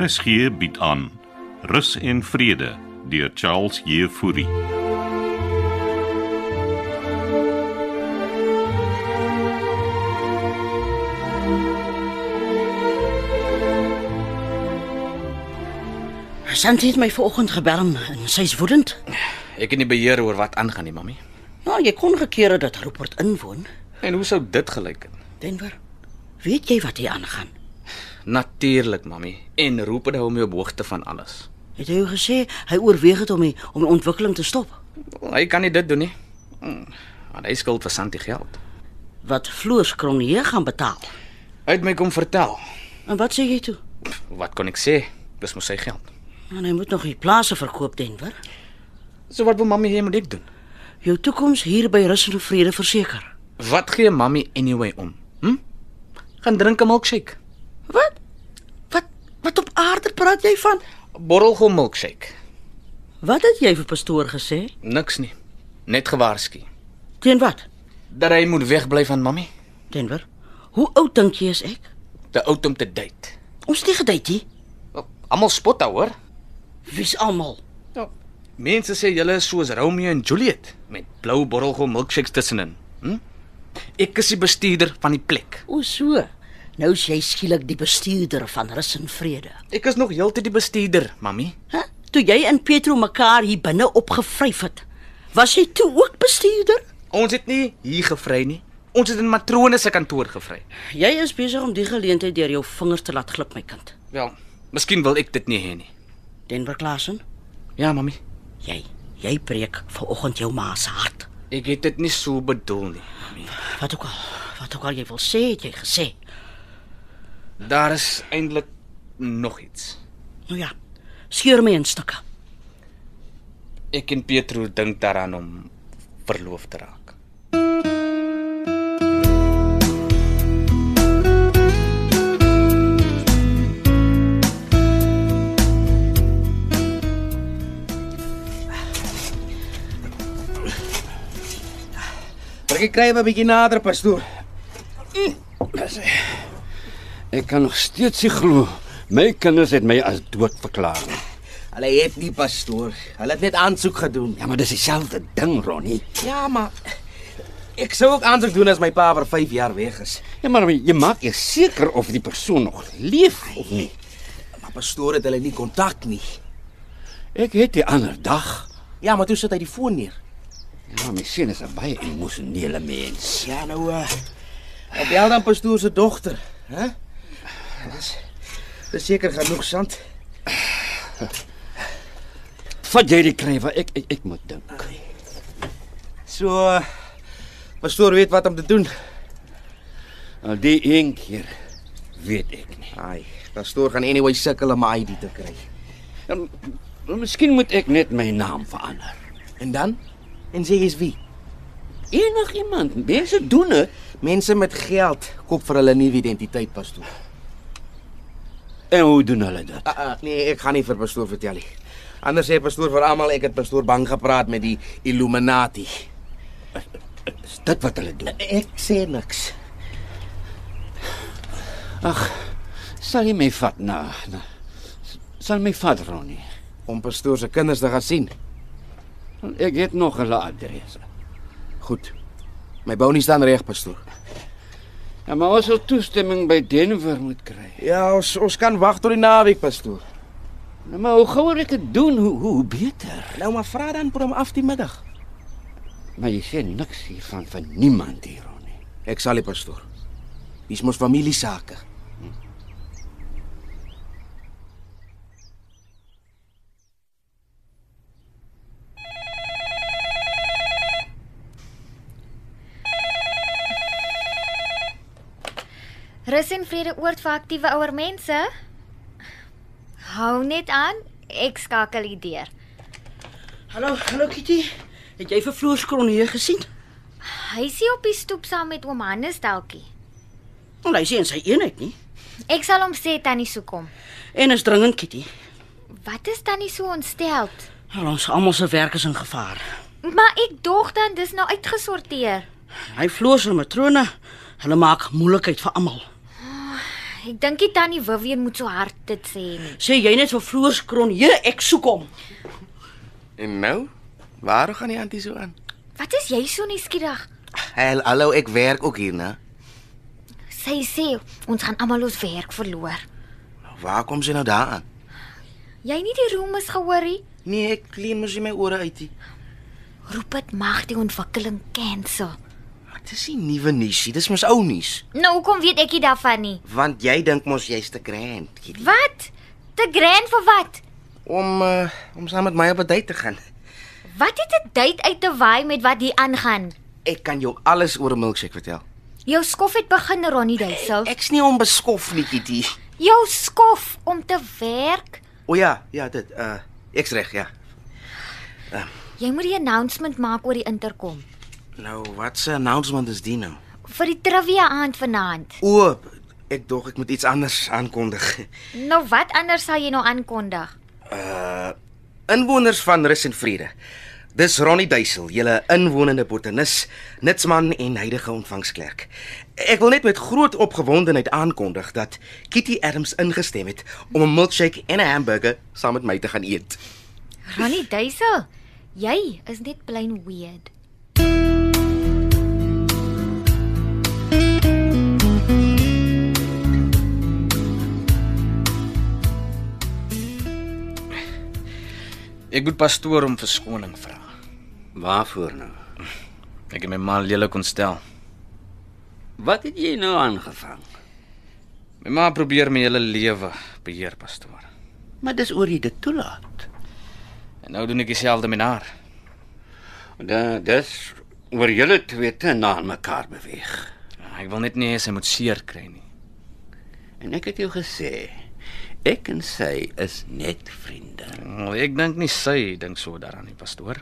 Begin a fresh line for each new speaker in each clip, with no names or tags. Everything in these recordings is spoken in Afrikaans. RSG bied aan Rus en Vrede deur Charles Jefouri.
Santi het my vanoggend gebel en sy's woedend.
Ek het nie beheer oor wat aangaan nie, mami.
Nou, jy kon gekeer het dat Rupert inwoon.
En hoe sou dit gelyk het?
Denver, weet jy wat hier aangaan?
Natuurlik, mami. En roep dit hou my op hoogte van alles.
Het hy jou gesê hy oorweeg het om die, om die ontwikkeling te stop?
Wel, Hy kan nie dit doen nie. Hm, Want hy skuld vir Santi geld.
Wat Floors Kronje gaan betaal.
Hy het my kom vertel.
En wat sê jy toe?
Pff, Wat kon ek sê? Dis mos sy geld.
En hy moet nog die plase verkoop, Denver.
So wat wil mami hê moet ek doen?
Jou toekoms hier by Rus en Vrede verseker.
Wat gee mami anyway om? Hm? Gaan drink 'n milkshake.
Wat? Wat wat op aarde praat jy van?
Borrelgou milkshake.
Wat het jy vir pastoor gesê?
Niks nie. Net gewaarsku
Teen wat?
dat hy moet wegbly van mami.
Denver, hoe oud dink jy is ek?
Te oud om te date.
Ons het nie gedate nie.
Wel, Almal spot daar, hoor.
Wie's almal?
Ja. Mense sê julle is soos Romeo en Juliet met blou borrelgom milkshakes tussenin. Hm? Ek is die bestuurder van die plek.
O so. Nou is jy skielik die bestuurder van Rus en Vrede.
Ek is nog heeltyd die bestuurder, mami.
Hæ? Toe jy en Petro mekaar hier binne opgevryf het, was jy toe ook bestuurder?
Ons het nie hier gevry nie. Ons het in matrone se kantoor gevry.
Jy is besig om die geleentheid deur jou vingers te laat glip, my kind.
Wel, miskien wil ek dit nie hê nie.
Denver Klasen,
Ja, mami.
jy jy breek vanoggend jou ma se hart.
Ek het dit nie so bedoel nie, mami.
Wat ook al, wat ook al jy wil sê, het jy gesê.
Daar is eintlik nog iets.
Nou ja, skeur my in stukke.
Ek en Pietro dink daaraan om verloof te raak.
Maar ek kry hom 'n bietjie nader, pastoor. Ek kan nog steeds nie glo my kinders het my as dood verklaar.
Hulle het nie pastoor. Hulle het net aansoek gedoen.
Ja, maar dis dieselfde ding, Ronnie.
Ja, maar ek sou ook aansoek doen as my pa vir 5 jaar weg is.
Ja, maar jy maak eers seker of die persoon nog leef of nie.
Maar pastoor het hulle nie kontak nie.
Ek het die ander dag,
Ja, maar toe sit hy die foon neer.
ja, maar my seun is 'n baie emosionele mens.
Ja, nou uh op bel dan pastoor se dogter, hè? Dis dis seker genoeg sand.
Vat jy die krywe, ek ek, ek moet dink.
So uh, pastoor weet wat om te doen.
Al die een keer weet ek nie.
Ai, pastoor gaan anyway sukkel om my ID te kry.
Ja, m- Miskien moet ek net my naam verander.
En dan? En sê jy's wie?
Enig iemand, mense doen dit.
Mense met geld koop vir hulle nuwe identiteit, pastoor.
En hoe doen hulle dit?
Uh, uh, nee, ek gaan nie vir pastoor vertel nie. Anders sê pastoor vir almal ek het pastoor bang gepraat met die Illuminati.
Is dit wat hulle doen?
Eh, Ek sê niks.
Ag, sal jy my vat na? na s- sal my vat Ronnie.
Om pastoor se kinders te gaan sien.
Want Ek het nog hulle adresse.
Goed. My bonie staan reg, pastoor.
Ja, maar ons sal toestemming by Denver moet kry.
Ja, ons ons kan wag tot die naweek, pastoor.
Nou, maar hoe gouer ek dit doen, hoe hoe hoe beter.
Nou maar vra dan vir hom af die middag.
Maar jy sê niks hiervan van niemand hier Ronnie.
Ek sal die pastoor. Dis mos familie sake.
Rus en vrede oort vir aktiewe ouer mense. Hou net aan, ek skakel die deur.
Hallo, hallo Kitty. Het jy vir Floors Kronje gesien?
Hy is hier op die stoep saam met oom Hannes Teltjie.
Want hy sien sy eenheid nie.
Ek sal hom sê tannie sou kom.
En is dringend, Kitty.
Wat is tannie so ontsteld?
Al ons almal se werk is in gevaar.
Maar ek dog dan dis nou uitgesorteer.
Hy floors hulle matrone. Hulle maak moeilikheid vir almal.
Ek dink die tannie Vivian moet so hard dit sê nie.
Sê jy net vir Floorskron, "Hier, ek soek hom."
En nou? Waar gaan die antie so aan?
Wat is jy so nuuskierig?
Hel, hallo, ek werk ook hier, né?
Sy sê ons gaan almal ons werk verloor.
Waar kom sy nou daaraan?
Jy het nie die roemes gehoor nie?
Nee, ek kleen mos nie my ore uit nie.
Rupert mag die ontwikkeling cancel.
Maar Ah, Dis nie nuwe nuus nie, dis mos ou nuus.
Nou hoekom weet ek nie daarvan nie?
Want jy dink mos jy's te grand, Kitty,
Wat? Te grand vir wat?
om uh, om saam met my op 'n date te gaan.
Wat het 'n date uit te waai met wat hier aangaan?
Ek kan jou alles oor 'n milkshake vertel.
Jou skof het begin Ronnie Duisel.
Ek's nie onbeskof nie, Kitty.
Jou skof om te werk.
O ja, ja, dit uh ek's reg, ja.
Jy moet die announcement maak oor die interkom
Nou, wat 'n announcement is dit nou?
vir die trivia aand vanaand.
O, ek dog ek moet iets anders aankondig.
Nou wat anders sal jy nou aankondig?
Uh inwoners van Rus en Vrede. Dis Ronnie Duisel, julle inwonende botanis, nutsman en huidige ontvangsklerk. Ek wil net met groot opgewondenheid aankondig dat Kitty Adams ingestem het om 'n milkshake en 'n hamburger saam met my te gaan eet.
Ronnie Duisel, jy is net plain weird.
Ek moet pastoor om verskoning vra.
Waarvoor nou?
Ek het my ma lelik ontstel.
Wat het jy nou aangevang?
My ma probeer my hele lewe beheer, pastoor.
Maar dis oor jy dit toelaat.
En nou doen ek dieselfde met haar.
Da dis oor julle twee te na mekaar beweeg.
Ek wil net nie hê sy moet seer kry nie.
En ek het jou gesê, ek en sy is net vriende.
Wel, Ek dink nie sy dink so daaraan nie, pastoor.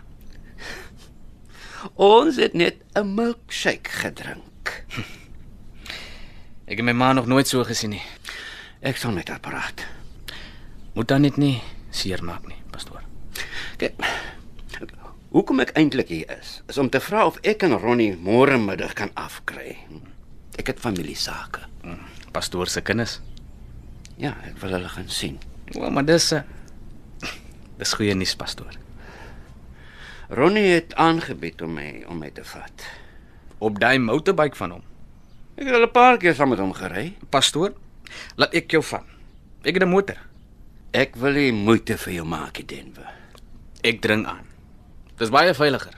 Ons het net 'n milkshake gedrink.
Ek het my ma nog nooit so gesien nie.
Ek sal met haar praat.
Moet dan net nie seer maak nie, pastoor.
Kyk. Hoekom ek eintlik hier is, is om te vra of ek en Ronnie môre middag kan afkry. Ek het familie sake.
Pastoor se kinders.
Ja, ek wil hulle gaan sien.
O, maar dis 'n Dis goeie nuus, pastoor.
Ronnie het aangebied om my om my te vat.
Op daai motorbike van hom.
Ek het al 'n paar keer saam met hom gery.
Pastoor, laat ek jou vat. Ek het 'n motor.
Ek wil nie moeite vir jou maak in Denver.
Ek dring aan. Dis baie veiliger.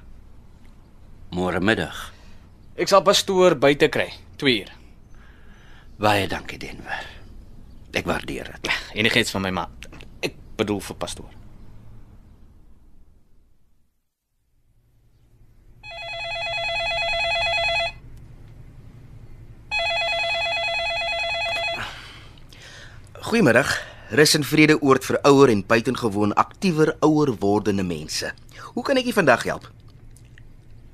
Môre middag.
Ek sal pastoor buite kry, 2 uur.
Baie dankie Denver. Ek waardeer dit.
Enigheids van my ma. Ek bedoel vir pastoor.
Goeiemiddag. Rus en Vrede oord vir ouer en buitengewoon aktiewer ouer wordende mense. Hoe kan ek u vandag help?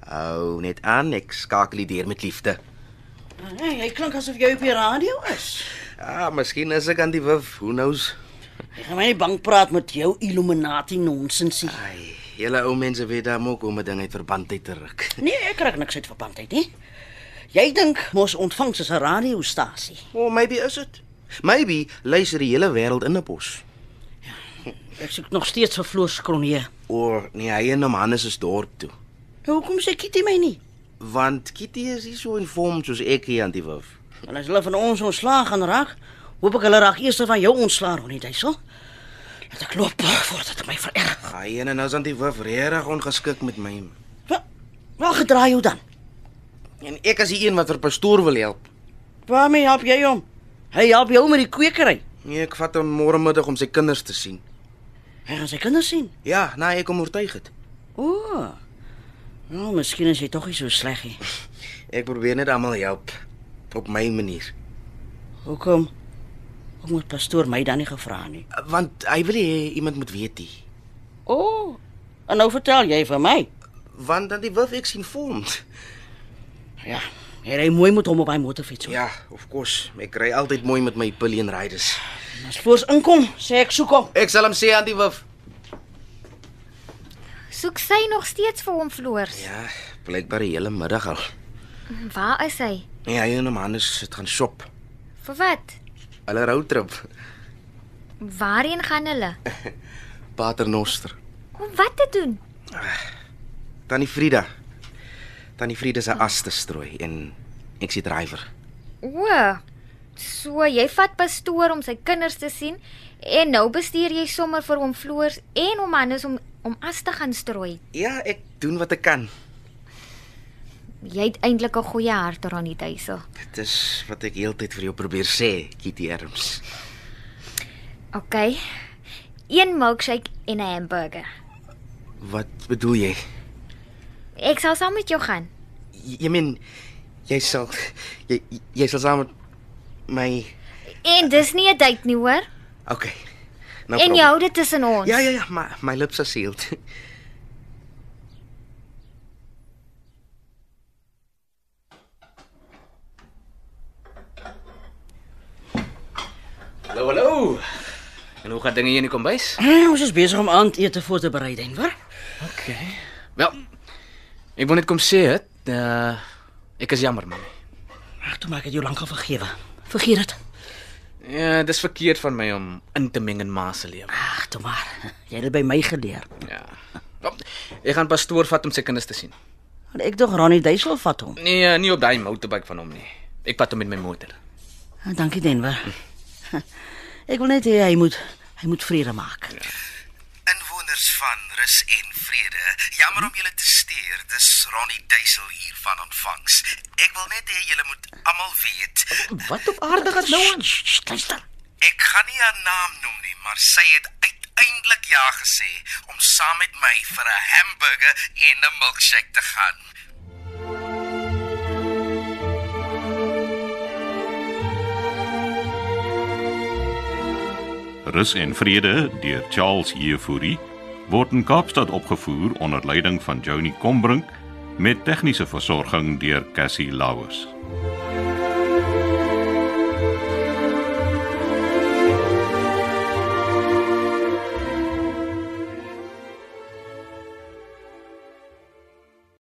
Hou net aan, ek skakel u deur met liefde.
Hey, jy Ah, nee, klink asof jy op die radio is.
Ah, miskien is ek aan die wif, who knows.
Jy gaan my nie bang praat met jou Illuminati nonsensie.
Ai, julle ou mense weet daar moet kom 'n ding uit verband uit te ruk.
Nee, ek kry niks uit verband uit nie. Jy dink mos ontvangs is 'n radiostasie.
Well, maybe is dit. Maybe luister die hele wêreld in 'n bos.
Ek soek nog steeds vir Floorskron hier.
Of nee, hy en hom Hannes is dorp toe.
Nou, Hoekom sê Kitty my nie?
Want Kitty is nie so informed soos ek hier aan die wif.
En as hulle van ons ontslaag gaan raak, hoop ek hulle raak eers van jou ontslaag, Ronnie Duisel. Dat ek loop voordat dit my vererg.
Hy en nou is aan die wif regtig ongeskik met my.
Wa- Waar gedraai jou dan?
En ek is die een wat vir pastoor wil help.
Waarmee help jy hom? Hy help jou met die kwekery.
Nee, ek vat hom môre middag om sy kinders te sien.
Hy gaan sy kinders sien.
Ja, nou ek kom oortuig dit.
O. Nou, miskien is hy tog nie so sleg nie.
Ek probeer net almal help op my manier.
Hoekom? Hoekom het pastoor my dan nie gevra nie?
Want hy wil hê iemand moet weet dit.
O. En nou vertel jy vir my.
Want dan die wif ek sien vorm.
Ja, hy ry mooi met hom op hy motorfiets. Ja.
Ja, of course. Ek ry altyd mooi met my Pillion Riders.
As voors inkom, sê ek soek hom.
Ek sal hom sê aan die wif.
Soek sy nog steeds vir hom floors. Ja.
Ja, blykbaar die hele middag al.
Waar is hy?
Nee, hy en hom Hannes het gaan shop.
Vir wat?
Hulle roadtrip,
Waarheen gaan hulle?
Paternoster.
Om wat te doen?
Tannie Frida. Tannie Frida se as te strooi en ek se drywer.
O. So jy vat pastoor om sy kinders te sien en nou bestuur jy sommer vir hom floors en hom anders om om as te gaan strooi.
Ja, ek doen wat ek kan.
Jy het eintlik 'n goeie hart aan die tuisel.
Dit is wat ek heeltyd vir jou probeer sê, Kitty Erms.
OK. Een milkshake en 'n hamburger.
Wat bedoel jy?
Ek sal saam met jou gaan.
Jy, jy meen jy sal jy jy sal saam met my
En dis nie 'n date nie, hoor?
Okay. Nou
No en jy hou dit tussen ons.
Ja ja ja, my my lips are sealed.
Hallo, hallo. En hoe gaan dinge hier in die kombuis?
Eh, ons is besig om aandete voor te berei, Denver.
Okay. Wel. Ek wil net kom sê dit. Uh ek is jammer, man.
Ag, toe maak ek jou lank al vergewe. Vergeet dit.
Ja, dis verkeerd van my om in te meng in ma se lewe.
Ag, toe maar. Jy het dit by my geleer.
Ja. Wel, Ek gaan pastoor vat om sy kinders te sien.
Want ek dog Ronnie Duisel vat hom.
Nee, nie op daai motorbike van hom nie. Ek vat hom met my motor.
Ah, Dankie Denver. Ek wil net hê hy moet hy moet vrede maak.
Inwoners van Rus en Vrede, jammer om julle te steur. Dis Ronnie Duisel hier van ontvangs. Ek wil net hê julle moet almal weet,
Wat op aarde gaan nou aan?
Sst, sst, luister.
ek gaan nie haar naam noem nie, maar sy het uiteindelik ja gesê om saam met my vir 'n hamburger en 'n milkshake te gaan.
Rus en Vrede deur Charles Jefouri word in Kaapstad opgevoer onder leiding van Johnny Combrink met tegniese versorging deur Cassie Lauers.